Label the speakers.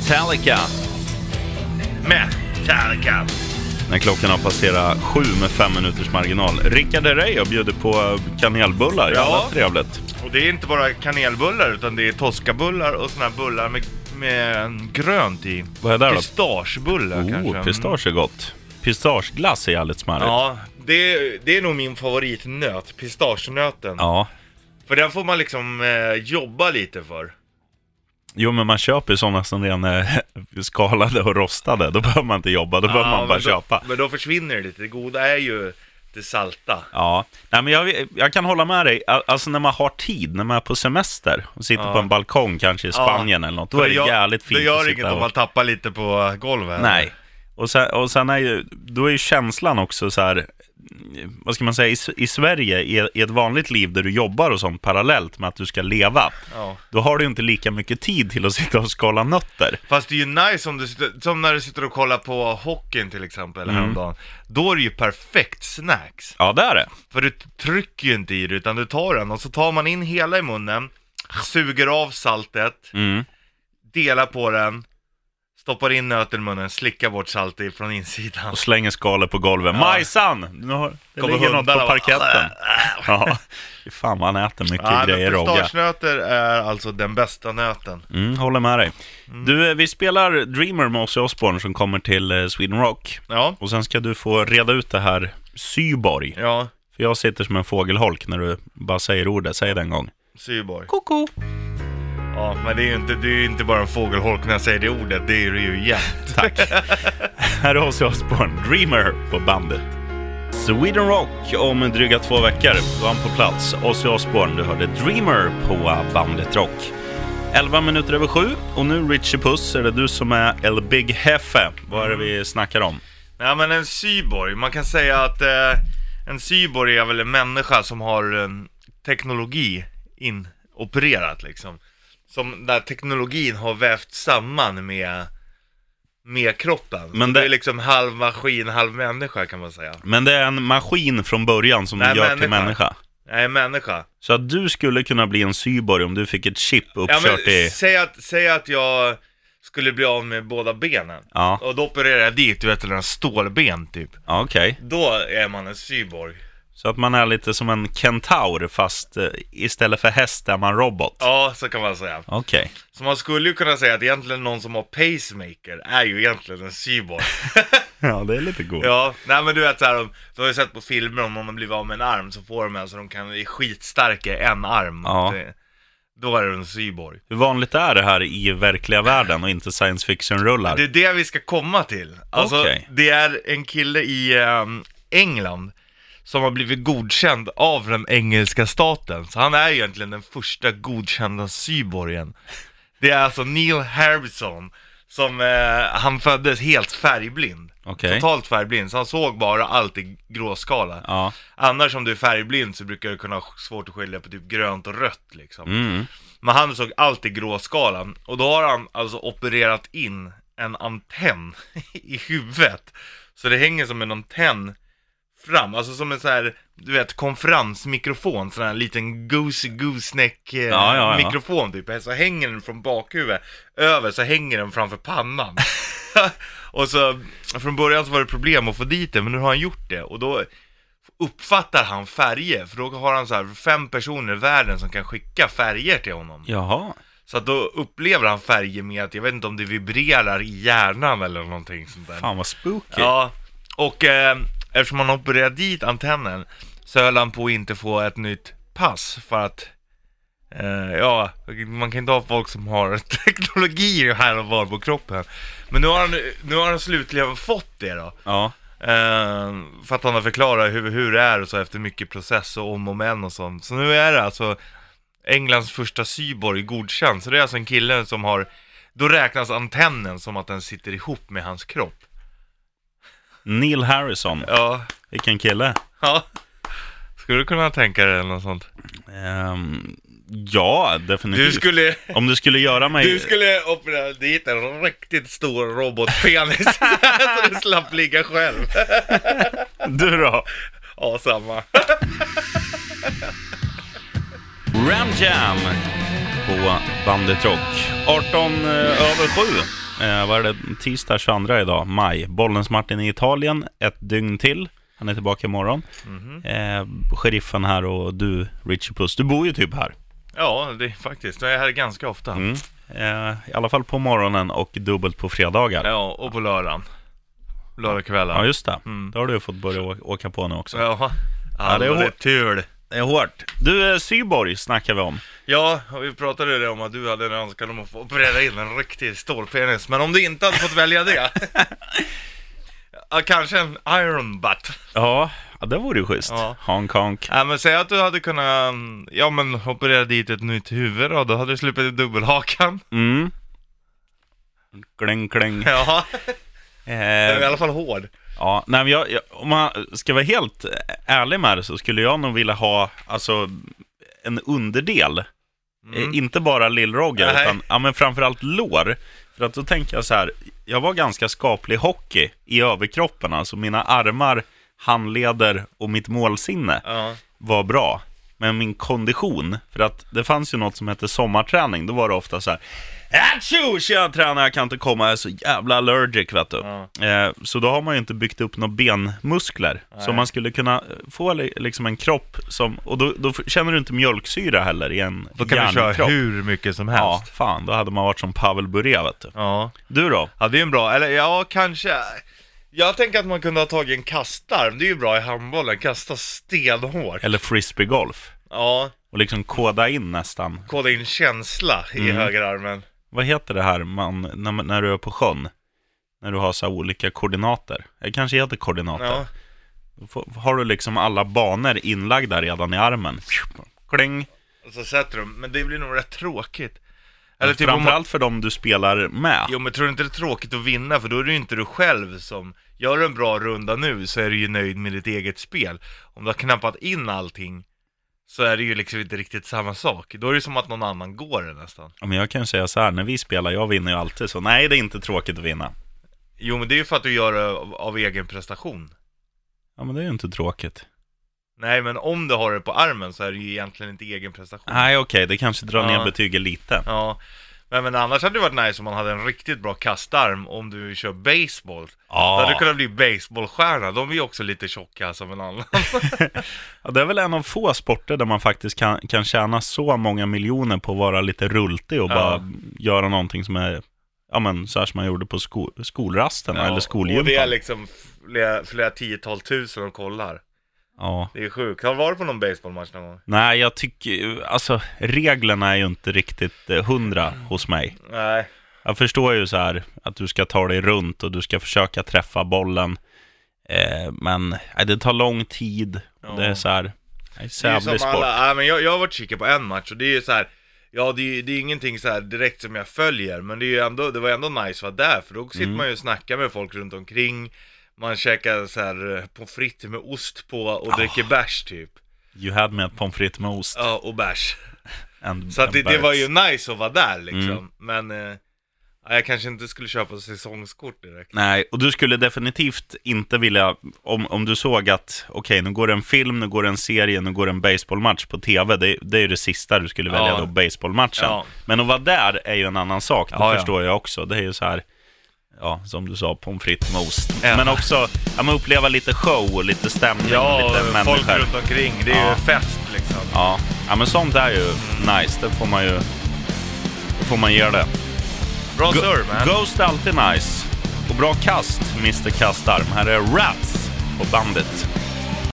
Speaker 1: Metallica.
Speaker 2: Metallica.
Speaker 1: När klockan har passerat sju med fem minuters marginal. Rickard Herrey bjuder på kanelbullar.
Speaker 2: Ja.
Speaker 1: Ja. trevligt.
Speaker 2: Och det är inte bara kanelbullar utan det är toskabullar och såna här bullar med, med grönt i.
Speaker 1: Vad är det då?
Speaker 2: Pistagebullar kanske.
Speaker 1: Oh,
Speaker 2: Mm.
Speaker 1: pistage är gott. Pistageglass är jävligt smarrigt.
Speaker 2: Ja, det, det är nog min favoritnöt, pistagenöten.
Speaker 1: ja.
Speaker 2: För den får man liksom eh, jobba lite för.
Speaker 1: Jo, men man köper ju sådana som redan är skalade och rostade. Då behöver man inte jobba, då behöver man bara
Speaker 2: men då,
Speaker 1: köpa.
Speaker 2: Men då försvinner det lite. Det goda är ju det salta.
Speaker 1: Ja, Nej, men jag, jag kan hålla med dig. Al- Alltså när man har tid, när man är på semester och sitter
Speaker 2: Ja.
Speaker 1: på en balkong kanske i Spanien eller något, då
Speaker 2: För
Speaker 1: är det
Speaker 2: gör-
Speaker 1: jävligt fint
Speaker 2: Det gör
Speaker 1: att sitta
Speaker 2: inget om
Speaker 1: och-
Speaker 2: man tappar lite på golvet.
Speaker 1: Nej. Och sen, och sen är ju, då är ju känslan också så här, vad ska man säga, i, S- i Sverige, i, i ett vanligt liv där du jobbar och sånt parallellt med att du ska leva,
Speaker 2: Ja.
Speaker 1: då har du ju inte lika mycket tid till att sitta och skala nötter.
Speaker 2: Fast det är ju nice om du sitter, som när du sitter och kollar på hockeyn till exempel
Speaker 1: Mm.
Speaker 2: häromdagen. Då är det ju perfekt snacks.
Speaker 1: Ja, det är det.
Speaker 2: För du t- trycker ju inte i det utan du tar den och så tar man in hela i munnen, suger av saltet,
Speaker 1: Mm.
Speaker 2: delar på den, stoppar in nöten i munnen, slickar bort saltet från insidan.
Speaker 1: Och slänger skalet på golvet.
Speaker 2: Ja.
Speaker 1: Majsan! Nu har, det
Speaker 2: Kommer
Speaker 1: ligger något
Speaker 2: hundarna
Speaker 1: på
Speaker 2: och-
Speaker 1: parketten. Ja, Fy fan vad han äter mycket
Speaker 2: Ja, men
Speaker 1: grejer, Rogga.
Speaker 2: pistagenötter är alltså den bästa nöten.
Speaker 1: Mm, håller med dig. Du, eh, vi spelar Dreamer med Ozzy Osbourne som kommer till eh, Sweden Rock.
Speaker 2: Ja,
Speaker 1: Och sen ska du få reda ut det här Syborg.
Speaker 2: ja,
Speaker 1: För jag sitter som en fågelholk när du bara säger ordet. Säg det en gång.
Speaker 2: Syborg.
Speaker 1: Koko.
Speaker 2: Ja, men det är ju inte, det är ju inte bara en fågelholk när jag säger det ordet, det är det ju jämt.
Speaker 1: Tack. här är Ozzy Osbourne, Dreamer på bandet. Sweden Rock om dryga två veckor. Då är han på plats. Ozzy Osbourne, du hörde Dreamer på bandet Rock. 11 minuter över sju och nu Richie Puss, är det du som är El Big Hefe. Vad är det vi snackar om?
Speaker 2: Nej men en cyborg, man kan säga att eh, en cyborg är väl en människa som har eh, teknologi inopererat liksom. Som där teknologin har vävt samman med, med kroppen.
Speaker 1: Men
Speaker 2: Men
Speaker 1: det-
Speaker 2: det... är liksom halv maskin, halv människa kan man säga.
Speaker 1: Men det är en maskin från början som du
Speaker 2: Nej,
Speaker 1: gör till
Speaker 2: människa.
Speaker 1: människa.
Speaker 2: Nej, människa.
Speaker 1: Så att du skulle kunna bli en cyborg om du fick ett chip
Speaker 2: Ja,
Speaker 1: uppkört
Speaker 2: men,
Speaker 1: i...
Speaker 2: säg, att, säg att jag skulle bli av med båda benen.
Speaker 1: Ja,
Speaker 2: Och då opererar jag dit, du vet, eller en stålben typ.
Speaker 1: ja okej.
Speaker 2: Då är man en cyborg.
Speaker 1: Så att man är lite som en kentaur fast eh, istället för häst är man robot.
Speaker 2: Ja, så kan man säga.
Speaker 1: Okej.
Speaker 2: Så man skulle ju kunna säga att egentligen någon som har pacemaker är ju egentligen en cyborg.
Speaker 1: Ja, det är lite god.
Speaker 2: ja, nej men du vet såhär, du har ju sett på filmer om om man blir av med en arm så får de en så de kan, är skitstarka i en arm.
Speaker 1: Ja.
Speaker 2: Det, då är du en cyborg.
Speaker 1: Hur vanligt är det här i verkliga världen och inte science fiction-rullar?
Speaker 2: Det är det vi ska komma till. Alltså,
Speaker 1: Okej.
Speaker 2: det är en kille i ehm, England som har blivit godkänd av den engelska staten. Så han är ju egentligen den första godkända cyborgen. Det är alltså Neil Harbison som, eh, han föddes helt färgblind.
Speaker 1: Okej.
Speaker 2: Totalt färgblind, så han såg bara allt i gråskala.
Speaker 1: Ja.
Speaker 2: Annars om du är färgblind så brukar du kunna ha svårt att skilja på typ grönt och rött liksom.
Speaker 1: Mm.
Speaker 2: Men han såg allt i gråskalan och då har han alltså opererat in en antenn i huvudet. Så det hänger som en antenn fram, alltså som en sån här, du vet, konferensmikrofon, sån här liten goose gooseneck eh,
Speaker 1: Ja, ja, ja.
Speaker 2: mikrofon typ. Så hänger den från bakhuvudet över, så hänger den framför pannan. och så, från början så var det problem att få dit det, men nu har han gjort det och då uppfattar han färger, för då har han så här fem personer i världen som kan skicka färger till honom.
Speaker 1: Jaha.
Speaker 2: Så att då upplever han färger med att, jag vet inte om det vibrerar i hjärnan eller någonting sånt där.
Speaker 1: Fan vad spooky.
Speaker 2: Ja, och eh, eftersom han opererade dit antennen så höll han på att inte få ett nytt pass för att eh, Ja, man kan inte ha folk som har teknologi här och var på kroppen. Men nu har han, nu har han slutligen fått det då.
Speaker 1: Ja.
Speaker 2: Eh, för att han har förklarat hur, hur det är och så efter mycket process och om och men och sånt. Så nu är det alltså Englands första cyborg godkänd. Så det är alltså en kille som har, då räknas antennen som att den sitter ihop med hans kropp.
Speaker 1: Neil Harrison.
Speaker 2: Ja,
Speaker 1: Vilken kille.
Speaker 2: ja. Skulle du kunna tänka dig något sånt?
Speaker 1: Ehm, ja, definitivt.
Speaker 2: Du skulle,
Speaker 1: Om du skulle göra mig...
Speaker 2: du skulle operera dit en riktigt stor robotpenis så du slapp ligga själv.
Speaker 1: Du då?
Speaker 2: Ja, samma.
Speaker 1: Ram Jam på bandet Rock. 18 eh, över 7. Eh, vad är det? Tisdag 22 idag, maj. Bollens Martin i Italien, ett dygn till. Han är tillbaka imorgon.
Speaker 2: Mhm.
Speaker 1: Eh, sheriffen här och du, Richie Puss. Du bor ju typ här.
Speaker 2: Ja, det är faktiskt. Jag är här ganska ofta.
Speaker 1: Mm. Eh, I alla fall på morgonen och dubbelt på fredagar. Ja,
Speaker 2: Ja, och på lördagen. Lördagskvällen.
Speaker 1: just det.
Speaker 2: Mm.
Speaker 1: Det har du ju fått börja å- åka på nu också.
Speaker 2: Ja,
Speaker 1: Ja, det är
Speaker 2: alldeles
Speaker 1: hårt.
Speaker 2: tur.
Speaker 1: Det är hårt. Du, eh, Syborg snackar vi om.
Speaker 2: Ja, och vi pratade ju det om att du hade en önskan om att få operera in en riktig stålpenis, men om du inte hade fått välja det. ja, kanske en iron butt.
Speaker 1: Ja, ja, det vore ju schysst.
Speaker 2: Ja.
Speaker 1: Hong Kong.
Speaker 2: Ja, men säg att du hade kunnat, mm, ja men operera dit ett nytt huvud då, då hade du sluppit dubbelhakan.
Speaker 1: Mm. Kling, kling.
Speaker 2: Ja, den är i
Speaker 1: Eh,
Speaker 2: alla fall hård.
Speaker 1: ja, nej, men jag, jag, om man ska vara helt ärlig med det så skulle jag nog vilja ha alltså, en underdel. Eh, Inte bara lillrogge,
Speaker 2: Mm. Nej.
Speaker 1: utan ja, men framförallt lår. För att då tänker jag så här, jag var ganska skaplig i hockey i överkroppen. Alltså mina armar, handleder och mitt målsinne
Speaker 2: Ja,
Speaker 1: var bra. Men min kondition, för att det fanns ju något som hette sommarträning, då var det ofta så här Atjo! Tjena tränare, jag kan inte komma, jag är så jävla allergic vet du.
Speaker 2: Ja.
Speaker 1: Eh, så då har man ju inte byggt upp några benmuskler. Så man skulle kunna eh, få li- liksom en kropp som, och då, då f- känner du inte mjölksyra heller i en
Speaker 2: då kan du köra
Speaker 1: hjärnkropp.
Speaker 2: hur mycket som helst.
Speaker 1: Ja,
Speaker 2: Ja.
Speaker 1: fan, då hade man varit som Pavel Bure vet du.
Speaker 2: ja.
Speaker 1: Du då?
Speaker 2: Ja det är en bra, eller ja kanske Jag tänker att man kunde ha tagit en kastarm, det är ju bra i handbollen, kasta stenhårt
Speaker 1: Eller frisbeegolf?
Speaker 2: Ja,
Speaker 1: Och liksom koda in nästan.
Speaker 2: kolla in känsla i
Speaker 1: Mm.
Speaker 2: högerarmen
Speaker 1: Vad heter det här man, när, man- när du är på sjön? När du har så här olika koordinater. Det kanske heter koordinater.
Speaker 2: Ja,
Speaker 1: F- Har du liksom alla banor inlagda redan i armen? Kling!
Speaker 2: och så sätter du men det blir nog rätt tråkigt Eller
Speaker 1: Eller
Speaker 2: typ om man,
Speaker 1: Framförallt för dem du spelar med.
Speaker 2: Jo men tror du inte det är tråkigt att vinna, för då är det ju inte du själv som Gör du en bra runda nu så är du ju nöjd med ditt eget spel Om du har knappat in allting så är det ju liksom inte riktigt samma sak, då är det som att någon annan går det nästan
Speaker 1: Men jag kan ju säga så här, när vi spelar, jag vinner ju alltid, så nej det är inte tråkigt att vinna.
Speaker 2: Jo men det är ju för att du gör det av, av egen prestation
Speaker 1: Ja men det är ju inte tråkigt.
Speaker 2: Nej, men om du har det på armen så är det ju egentligen inte egen prestation.
Speaker 1: Nej okej, det kanske drar
Speaker 2: Ja.
Speaker 1: ner betyget lite.
Speaker 2: Ja. Men, men annars hade det varit nice om man hade en riktigt bra kastarm om du kör baseball. Då hade
Speaker 1: Ja.
Speaker 2: du kunnat bli baseballstjärna. De är ju också lite tjocka som en annan.
Speaker 1: Ja, det är väl en av få sporter där man faktiskt kan, kan tjäna så många miljoner på att vara lite rultig och
Speaker 2: Ja.
Speaker 1: bara göra någonting som är, ja men så här som man gjorde på sko, skolrasten eller
Speaker 2: Och det är
Speaker 1: skolgympan.
Speaker 2: liksom flera, flera tiotal tusen och kollar.
Speaker 1: Ja.
Speaker 2: Det är sjukt. Har du varit på någon baseballmatch någon gång?
Speaker 1: Nej, jag tycker, ju- alltså reglerna är ju inte riktigt eh, hundra hos mig.
Speaker 2: Nej.
Speaker 1: Jag förstår ju så här att du ska ta dig runt och du ska försöka träffa bollen. Eh, men nej, det tar lång tid.
Speaker 2: Ja.
Speaker 1: Det är så här, det är
Speaker 2: Det är ju
Speaker 1: sävlig
Speaker 2: som
Speaker 1: sport.
Speaker 2: alla, nej, men jag, jag har varit kikad på en match och det är ju så här. Ja det är, ju- det är ingenting så här direkt som jag följer men det är ju ändå, det var ändå nice att vara där för då sitter man ju och snackar med folk runt omkring Man käkar så här eh, pommes frites med ost på och dricker bärs typ
Speaker 1: You had me at pommes frites med ost.
Speaker 2: Ja och bärs
Speaker 1: and-
Speaker 2: Så att
Speaker 1: and
Speaker 2: det, det var ju
Speaker 1: birds.
Speaker 2: nice att vara där liksom men eh, ja, jag kanske inte skulle köpa säsongskort direkt
Speaker 1: Nej, och du skulle definitivt inte vilja, om, om du såg att okej, nu går det en film, nu går det en serie, nu går det en baseballmatch på tv. Det, det är ju det sista du skulle välja
Speaker 2: Ja.
Speaker 1: då, baseballmatchen.
Speaker 2: Ja.
Speaker 1: Men att vara där är ju en annan sak, det
Speaker 2: Ja, ja.
Speaker 1: förstår jag också. Det är ju så här, ja, som du sa, pommes frites med ost.
Speaker 2: Ja.
Speaker 1: Men också, ja, men uppleva lite show och lite stämning,
Speaker 2: Ja,
Speaker 1: lite
Speaker 2: och folk
Speaker 1: människor.
Speaker 2: runt omkring, det är
Speaker 1: Ja.
Speaker 2: ju fest liksom
Speaker 1: Ja. ja, men sånt är ju nice. Det får man ju, det får man ge det.
Speaker 2: Bra
Speaker 1: Go-
Speaker 2: surr man!
Speaker 1: Ghost är alltid nice. Och bra kast, Mr Kastarm. Här är Rats på bandet.